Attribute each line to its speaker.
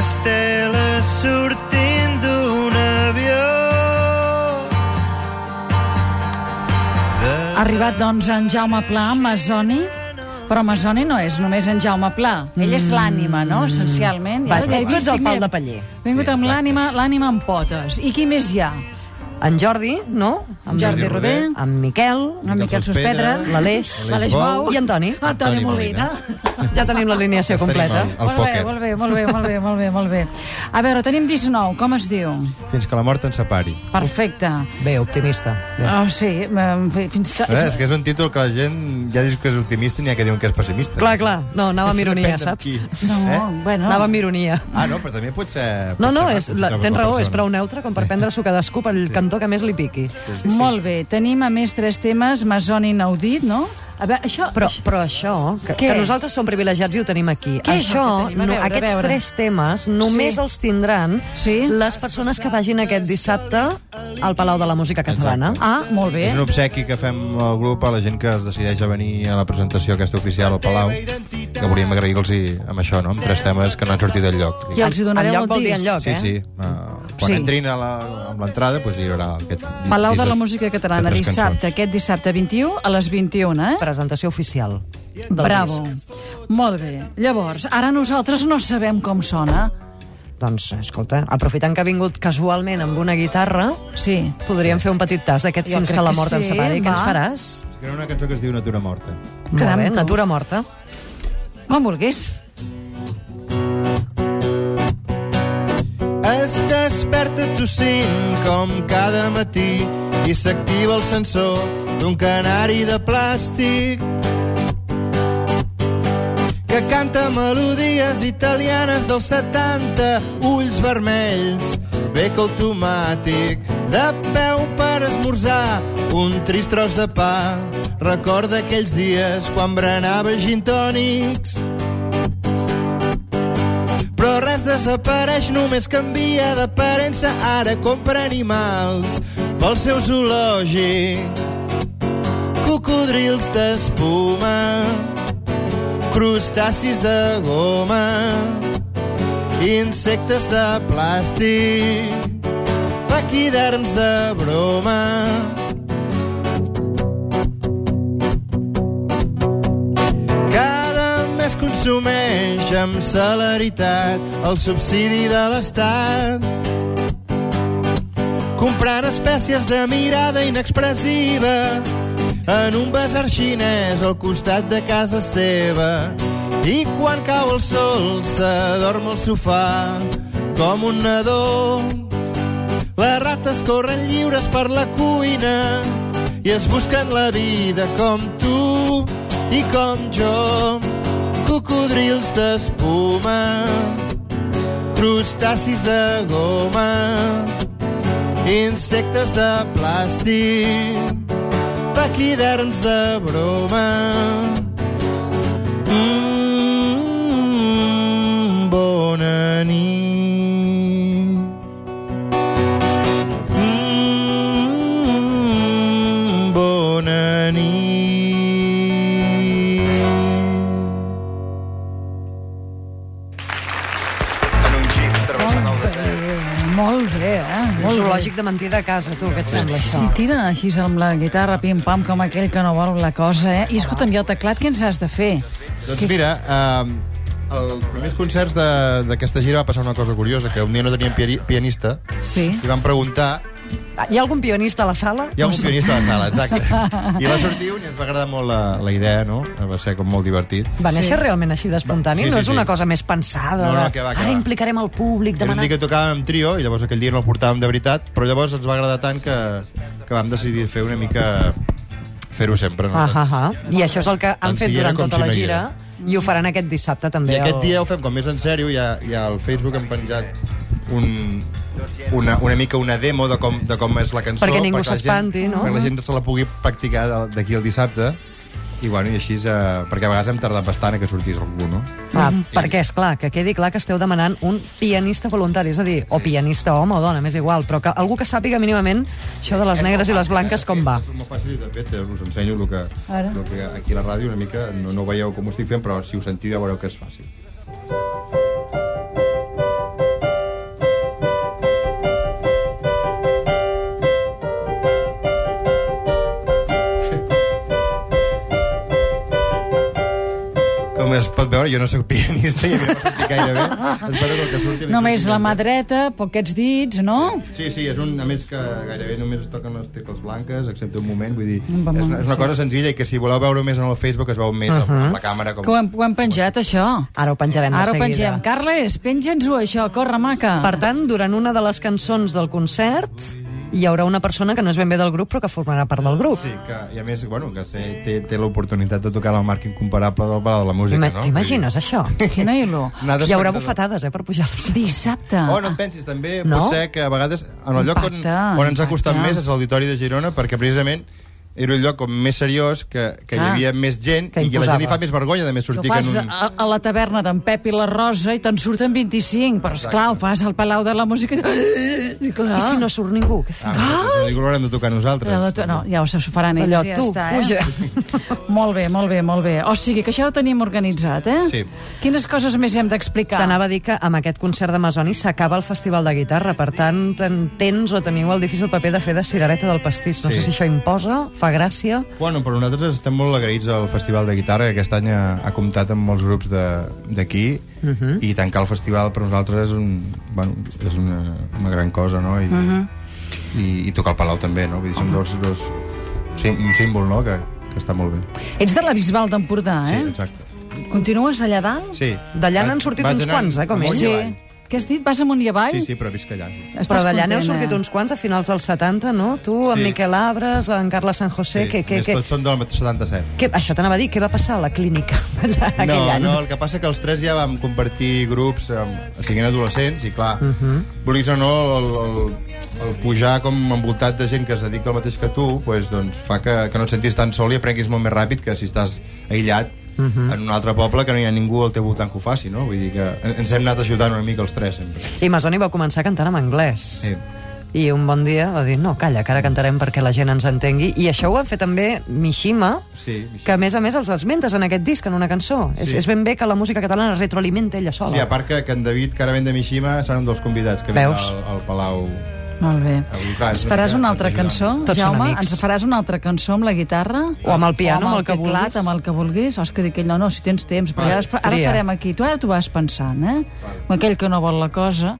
Speaker 1: esteles sortint d'un avió.
Speaker 2: Ha arribat, doncs, en Jaume Pla, Masoni, però Masoni no és només en Jaume Pla. Ell és l'ànima,
Speaker 3: Mm.
Speaker 2: no?, essencialment.
Speaker 3: Va,
Speaker 2: Ja- ja he
Speaker 3: tu ets
Speaker 2: vist
Speaker 3: el
Speaker 2: qui
Speaker 3: pal
Speaker 2: m'he-
Speaker 3: de paller.
Speaker 2: He vingut
Speaker 1: Sí,
Speaker 2: amb
Speaker 1: exacte.
Speaker 2: l'ànima l'ànima en potes. I qui més hi ha?
Speaker 3: En Jordi, no? Amb,
Speaker 2: Jordi Roder,
Speaker 1: Roder,
Speaker 3: amb Miquel,
Speaker 2: en Miquel Sospedra,
Speaker 3: l'Aleix,
Speaker 2: l'Aleix
Speaker 1: Bou
Speaker 2: Bou
Speaker 3: i Antoni.
Speaker 2: Antoni
Speaker 1: Antoni Molina.
Speaker 2: Molina.
Speaker 3: ja tenim l'alineació completa.
Speaker 1: Tenim El
Speaker 2: Molt bé,
Speaker 1: pòquer.
Speaker 2: molt bé, molt bé, molt bé, molt bé, molt bé. A veure, tenim 19, com es diu?
Speaker 1: Fins que la mort ens separi.
Speaker 2: Perfecte.
Speaker 3: Bé, optimista. Bé.
Speaker 2: Oh, sí, em- fi- fins que...
Speaker 1: Eh, és que és un títol que la gent ja diu que és optimista i n'hi ha que diuen que és pessimista.
Speaker 3: Clar, clar. No, anava amb
Speaker 1: Això depèn
Speaker 3: ironia,
Speaker 1: de
Speaker 3: saps?
Speaker 1: qui,
Speaker 2: No,
Speaker 1: eh?
Speaker 2: bueno...
Speaker 3: Anava amb ironia.
Speaker 1: Ah, no, però també pot ser...
Speaker 3: No,
Speaker 1: pot
Speaker 3: no,
Speaker 1: ser
Speaker 3: és,
Speaker 1: maco,
Speaker 3: la,
Speaker 1: com
Speaker 3: tens
Speaker 1: a
Speaker 3: raó, és
Speaker 1: persona.
Speaker 3: prou neutre com per prendre-s'ho cadascú pel cantó que més li piqui.
Speaker 2: Sí, sí. Molt bé, tenim a més tres temes, Mason inaudit, no? A veure, això...
Speaker 3: Però, però això, que,
Speaker 2: Què?
Speaker 3: que nosaltres som privilegiats i ho tenim aquí,
Speaker 2: Què és el
Speaker 3: això,
Speaker 2: que tenim? A veure, a
Speaker 3: aquests
Speaker 2: veure.
Speaker 3: tres temes només
Speaker 2: Sí.
Speaker 3: els tindran
Speaker 2: Sí.
Speaker 3: les persones que vagin aquest dissabte al Palau de la Música Catalana.
Speaker 2: Ah, molt bé.
Speaker 1: És un obsequi que fem al grup a la gent que es decideix a venir a la presentació aquesta oficial al Palau, que volíem agrair-los amb això, no? amb tres temes que no han sortit del lloc.
Speaker 2: I els hi donareu
Speaker 3: Enlloc
Speaker 2: el
Speaker 3: vol dir
Speaker 2: disc.
Speaker 3: enlloc,
Speaker 1: Sí,
Speaker 3: eh?
Speaker 1: sí. Uh, quan
Speaker 2: Sí.
Speaker 1: sí. entrin a la, amb l'entrada, doncs hi haurà aquest...
Speaker 2: Palau de
Speaker 1: disc
Speaker 2: la Música Catalana,
Speaker 1: de tres
Speaker 2: dissabte, aquest dissabte 21 a les 21, eh?
Speaker 3: Presentació oficial del
Speaker 2: Bravo.
Speaker 3: disc.
Speaker 2: Molt bé. Llavors, ara nosaltres no sabem com sona.
Speaker 3: Doncs, escolta, aprofitant que ha vingut casualment amb una guitarra,
Speaker 2: Sí.
Speaker 3: podríem fer un petit tas d'aquest
Speaker 2: Jo
Speaker 3: fins
Speaker 2: crec
Speaker 3: que la
Speaker 2: que
Speaker 3: mort ens
Speaker 2: sí,
Speaker 3: separi. Què ens
Speaker 2: va.
Speaker 3: faràs?
Speaker 1: cançons. Hi haurà una cançó que es diu Natura Morta.
Speaker 3: Molt
Speaker 2: Caram,
Speaker 3: bé,
Speaker 2: tu.
Speaker 3: Natura Morta.
Speaker 2: Quan vulguis.
Speaker 1: Es desperta tossint com cada matí i s'activa el sensor d'un canari de plàstic que canta melodies italianes dels 70, ulls vermells, bec automàtic, de peu per esmorzar, un trist tros de pa, recorda aquells dies quan berenava gin tònics. Però res desapareix, només canvia d'aparença. Ara compra animals pel seu zoològic. Cocodrils d'espuma, crustacis de goma, insectes de plàstic, paquiderms de broma. Cada mes consumeix amb celeritat el subsidi de l'Estat. Comprant espècies de mirada inexpressiva en un basar xinès al costat de casa seva. I quan cau el sol s'adorm al sofà com un nadó les rates corren lliures per la cuina i es busquen la vida com tu i com jo. Cocodrils d'espuma, crustacis de goma, insectes de plàstic, paquiderms de broma. Mm, bona nit. Mm, bona nit.
Speaker 2: Molt bé, molt bé, eh?
Speaker 3: Un
Speaker 2: Molt bé.
Speaker 3: zoològic de mentida a casa, tu, què et sembla això?
Speaker 2: Si tiren així amb la guitarra, pim-pam, com aquell que no vol la cosa, eh? I escolta'm, i el teclat, què ens has de fer?
Speaker 1: Doncs mira, eh, els primers concerts de- d'aquesta gira va passar una cosa curiosa, que un dia no tenien piani- pianista
Speaker 2: Sí.
Speaker 1: i van preguntar...
Speaker 3: Ah, Hi ha algun pionista a la sala?
Speaker 1: Hi ha un pianista a la sala, exacte. I va sortir un i ens va agradar molt la, la idea, no? Va ser com molt divertit.
Speaker 3: Va néixer
Speaker 2: Sí.
Speaker 3: realment així d'espontani?
Speaker 1: Sí, sí,
Speaker 3: no és
Speaker 1: sí.
Speaker 3: una cosa més pensada?
Speaker 1: No, no,
Speaker 3: de,
Speaker 1: que va, que
Speaker 3: Ara
Speaker 1: va.
Speaker 3: implicarem el públic,
Speaker 1: Era un
Speaker 3: demanar...
Speaker 1: dia que tocàvem en trio i llavors aquell dia no el portàvem de veritat, però llavors ens va agradar tant que, que vam decidir fer una mica... fer-ho sempre. No?
Speaker 3: Ah, ah, ah. I això és el que han
Speaker 1: Tant
Speaker 3: fet
Speaker 1: si hi era
Speaker 3: durant
Speaker 1: com
Speaker 3: tota
Speaker 1: si
Speaker 3: la
Speaker 1: no hi
Speaker 3: gira
Speaker 1: era.
Speaker 3: i ho faran aquest dissabte també.
Speaker 1: I aquest
Speaker 3: al-
Speaker 1: dia ho fem com més en sèrio, ja, ja al Facebook hem penjat un, una, una mica una demo de com, de com és la cançó.
Speaker 3: Perquè ningú
Speaker 1: la gent-
Speaker 3: s'espanti, no?
Speaker 1: Perquè la gent se la pugui practicar de- d'aquí al dissabte. I, bueno, i així, eh, perquè a vegades hem tardat bastant a que sortís algú, no?
Speaker 3: Ah,
Speaker 2: Mhm.
Speaker 3: perquè, és clar que quedi clar que esteu demanant un pianista voluntari, és a dir, o pianista home o dona, més igual, però que algú que sàpiga mínimament això de les negres i les blanques com va.
Speaker 1: És molt fàcil i de fet eh, us ensenyo el que,
Speaker 2: Ara.
Speaker 1: el que aquí a la ràdio una mica no, no veieu com ho estic fent, però si ho sentiu ja veureu que és fàcil.
Speaker 4: jo no sóc pianista i a mi no m'ha sortit gaire bé. Espero que el que surti... li
Speaker 2: Només
Speaker 4: surti
Speaker 2: la mà
Speaker 4: bé.
Speaker 2: dreta, poquets dits, no?
Speaker 4: Sí, sí, és un, a més que gairebé només es toquen les tecles blanques, excepte un moment, vull dir,
Speaker 2: Un bon
Speaker 4: és,
Speaker 2: moment,
Speaker 4: és una
Speaker 2: sí.
Speaker 4: cosa senzilla i que si voleu veure més en el Facebook es veu més uh -huh. amb la càmera. Com...
Speaker 2: Que ho hem, ho hem penjat, això.
Speaker 3: Ara ho penjarem
Speaker 2: Ara
Speaker 3: de
Speaker 2: ho
Speaker 3: seguida.
Speaker 2: pengem. Carles, penja'ns-ho, això, corre, maca.
Speaker 3: Per tant, durant una de les cançons del concert hi haurà una persona que no és ben bé del grup però que formarà part del grup.
Speaker 4: Sí, que, i a més, bueno, que té, té, té l'oportunitat de tocar en el marc incomparable del Palau de la Música,
Speaker 3: Ima-
Speaker 4: no?
Speaker 3: T'imagines això?
Speaker 2: Quina il·lo.
Speaker 4: Nada
Speaker 3: Hi haurà
Speaker 4: espectador.
Speaker 3: bufetades, eh, per pujar les...
Speaker 2: Dissabte.
Speaker 4: Oh, no et pensis, també
Speaker 3: No?
Speaker 4: no? pot ser que a vegades en el lloc on,
Speaker 2: Impacte,
Speaker 4: on ens ha costat
Speaker 2: impacte.
Speaker 4: més és l'Auditori de Girona, perquè precisament era un lloc com més seriós, que, que hi
Speaker 2: Clar.
Speaker 4: havia més gent
Speaker 3: Que
Speaker 4: i que la
Speaker 3: imposava.
Speaker 4: gent li fa més vergonya de més
Speaker 2: Ho
Speaker 4: sortir que
Speaker 2: fas eh,
Speaker 4: en un...
Speaker 2: a, a la taverna d'en Pep i la Rosa i te'n surten 25, però esclar, ho fas al Palau de la Música i... Clar.
Speaker 3: I si no surt ningú? Què fem?
Speaker 4: Ah, no, no, no, l'haurem de tocar nosaltres.
Speaker 2: Però tu- No, ja ho saps, ho faran ells.
Speaker 3: Allò,
Speaker 2: i ja
Speaker 3: tu,
Speaker 2: està,
Speaker 3: puja.
Speaker 2: Eh? Molt bé, molt bé, molt bé. O sigui que això ho tenim organitzat, eh?
Speaker 4: Sí.
Speaker 2: Quines coses més hem d'explicar?
Speaker 3: T'anava a dir que amb aquest concert de Masoni s'acaba el Festival de Guitarra, per tant, ten, tens o teniu el difícil paper de fer de cirereta del pastís. No
Speaker 4: Sí.
Speaker 3: sé si això imposa, fa gràcia...
Speaker 4: Bueno, però nosaltres estem molt agraïts al Festival de Guitarra, que aquest any ha, ha comptat amb molts grups de- d'aquí, uh -huh.
Speaker 3: Mhm.
Speaker 4: i tancar el festival per nosaltres és, un, bueno, és una, una gran cosa, no? I, uh
Speaker 3: Mhm.
Speaker 4: -huh. i, I tocar el Palau també, no? Vull dir, són dos, dos, sí, un símbol, no?, que, que està molt bé.
Speaker 2: Ets de la Bisbal
Speaker 3: Ah,
Speaker 2: d'Empordà,
Speaker 4: Sí,
Speaker 2: eh?
Speaker 4: exacte.
Speaker 2: Continues allà dalt?
Speaker 4: Sí.
Speaker 3: D'allà
Speaker 4: Vaig-
Speaker 3: n'han sortit
Speaker 4: vaig
Speaker 3: uns
Speaker 4: anant
Speaker 3: quants, eh, com
Speaker 4: amunt
Speaker 3: és.
Speaker 4: i
Speaker 2: sí.
Speaker 4: avall.
Speaker 2: Què has dit? Vas amunt i avall?
Speaker 4: Sí, sí, però visc allà.
Speaker 2: Estàs
Speaker 3: Però d'allà n'heu
Speaker 2: content,
Speaker 3: sortit
Speaker 2: eh?
Speaker 3: uns quants a finals dels 70, no? Tu, sí. en
Speaker 4: Sí.
Speaker 3: Miquel Abres, en Carles San José...
Speaker 4: Sí,
Speaker 3: Sí. Que, que,
Speaker 4: més
Speaker 3: que,
Speaker 4: Tots són del 77.
Speaker 3: que, això t'anava a dir, què va passar a la clínica allà, aquell
Speaker 4: no,
Speaker 3: any?
Speaker 4: No, el que passa que els tres ja vam compartir grups, eh, amb, siguin adolescents, i clar, uh
Speaker 3: Mhm.
Speaker 4: -huh. vulguis o no, el, el, el pujar com envoltat de gent que es dedica al mateix que tu, pues, doncs fa que, que no et sentis tan sol i aprenguis molt més ràpid que si estàs aïllat uh
Speaker 3: Mhm.
Speaker 4: -huh. en un altre poble que no hi ha ningú al teu voltant que ho faci, no? Vull dir que en- ens hem anat ajudant una mica els tres, sempre. Eh,
Speaker 3: I Masoni va començar cantant en anglès.
Speaker 4: Sí.
Speaker 3: I un bon dia va dir, no, calla, que ara cantarem perquè la gent ens entengui. I això ho va fer també Mishima,
Speaker 4: Sí, Mishima.
Speaker 3: que a més a més els esmentes en aquest disc, en una cançó. Sí. És,
Speaker 4: Sí.
Speaker 3: és ben bé que la música catalana es retroalimenta ella sola.
Speaker 4: Sí, a part que, que en David, que ara ven de Mishima, serà un dels convidats que vindrà
Speaker 3: Veus?
Speaker 4: al, al Palau.
Speaker 2: Molt bé.
Speaker 4: Avui, clar,
Speaker 2: Ens
Speaker 4: és una
Speaker 2: faràs
Speaker 4: mica
Speaker 2: una altra
Speaker 4: ajudant.
Speaker 2: cançó,
Speaker 3: Tots són
Speaker 2: Jaume?
Speaker 3: amics.
Speaker 2: Ens faràs una altra cançó amb la guitarra?
Speaker 3: O amb el piano,
Speaker 2: o
Speaker 3: amb el que
Speaker 2: teclat,
Speaker 3: vulguis.
Speaker 2: Amb el que vulguis. O és que dic ell, no, no, si tens temps. Perquè ara, es- ara
Speaker 3: Tria.
Speaker 2: farem aquí. Tu ara t'ho vas pensant, eh? Amb aquell que no vol la cosa.